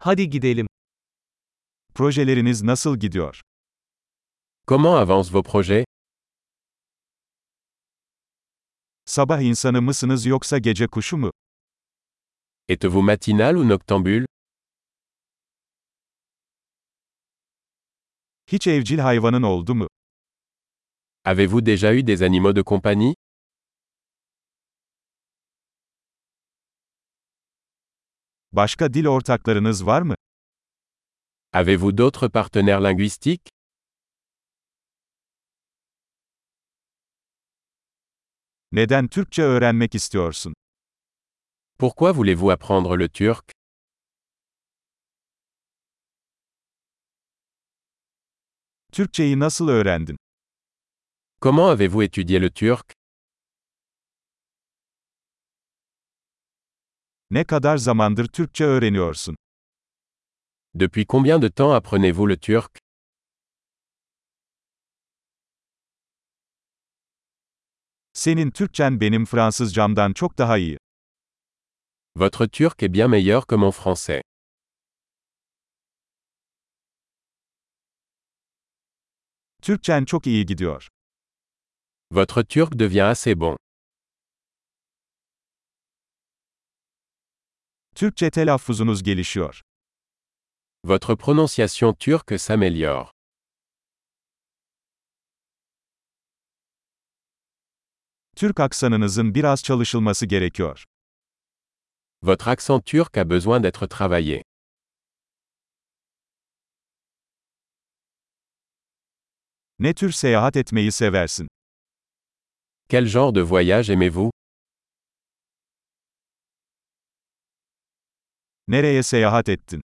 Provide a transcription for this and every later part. Hadi gidelim. Projeleriniz nasıl gidiyor? Comment avancent vos projets Sabah insanı mısınız yoksa gece kuşu mu? Êtes-vous matinal ou noctambule Hiç evcil hayvanın oldu mu? Avez-vous déjà eu des animaux de compagnie Başka dil ortaklarınız var mı? Avez-vous d'autres partenaires linguistiques Neden Türkçe öğrenmek istiyorsun? Pourquoi voulez-vous apprendre le turc Türkçeyi nasıl öğrendin? Comment avez-vous étudié le turc Ne kadar zamandır Türkçe öğreniyorsun? Depuis combien de temps apprenez-vous le turc Senin Türkçen benim Fransızcamdan çok daha iyi. Votre turc est bien meilleur que mon français. Türkçen çok iyi gidiyor. Votre turc devient assez bon. Türkçe telaffuzunuz gelişiyor. Votre prononciation turque s'améliore. Türk aksanınızın biraz çalışılması gerekiyor. Votre accent turc a besoin d'être travaillé. Ne tür seyahat etmeyi seversin? Quel genre de voyage aimez-vous Nereye seyahat ettin?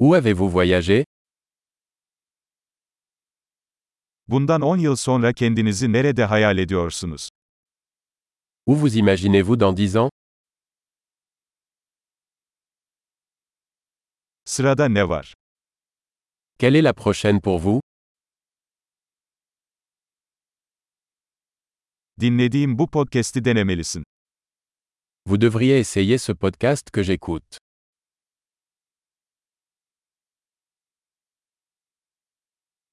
Où avez-vous voyagé Bundan 10 yıl sonra kendinizi nerede hayal ediyorsunuz? Où vous imaginez-vous dans 10 ans Sırada ne var? Quelle est la prochaine pour vous Dinlediğim bu podcast'i denemelisin. Vous devriez essayer ce podcast que j'écoute.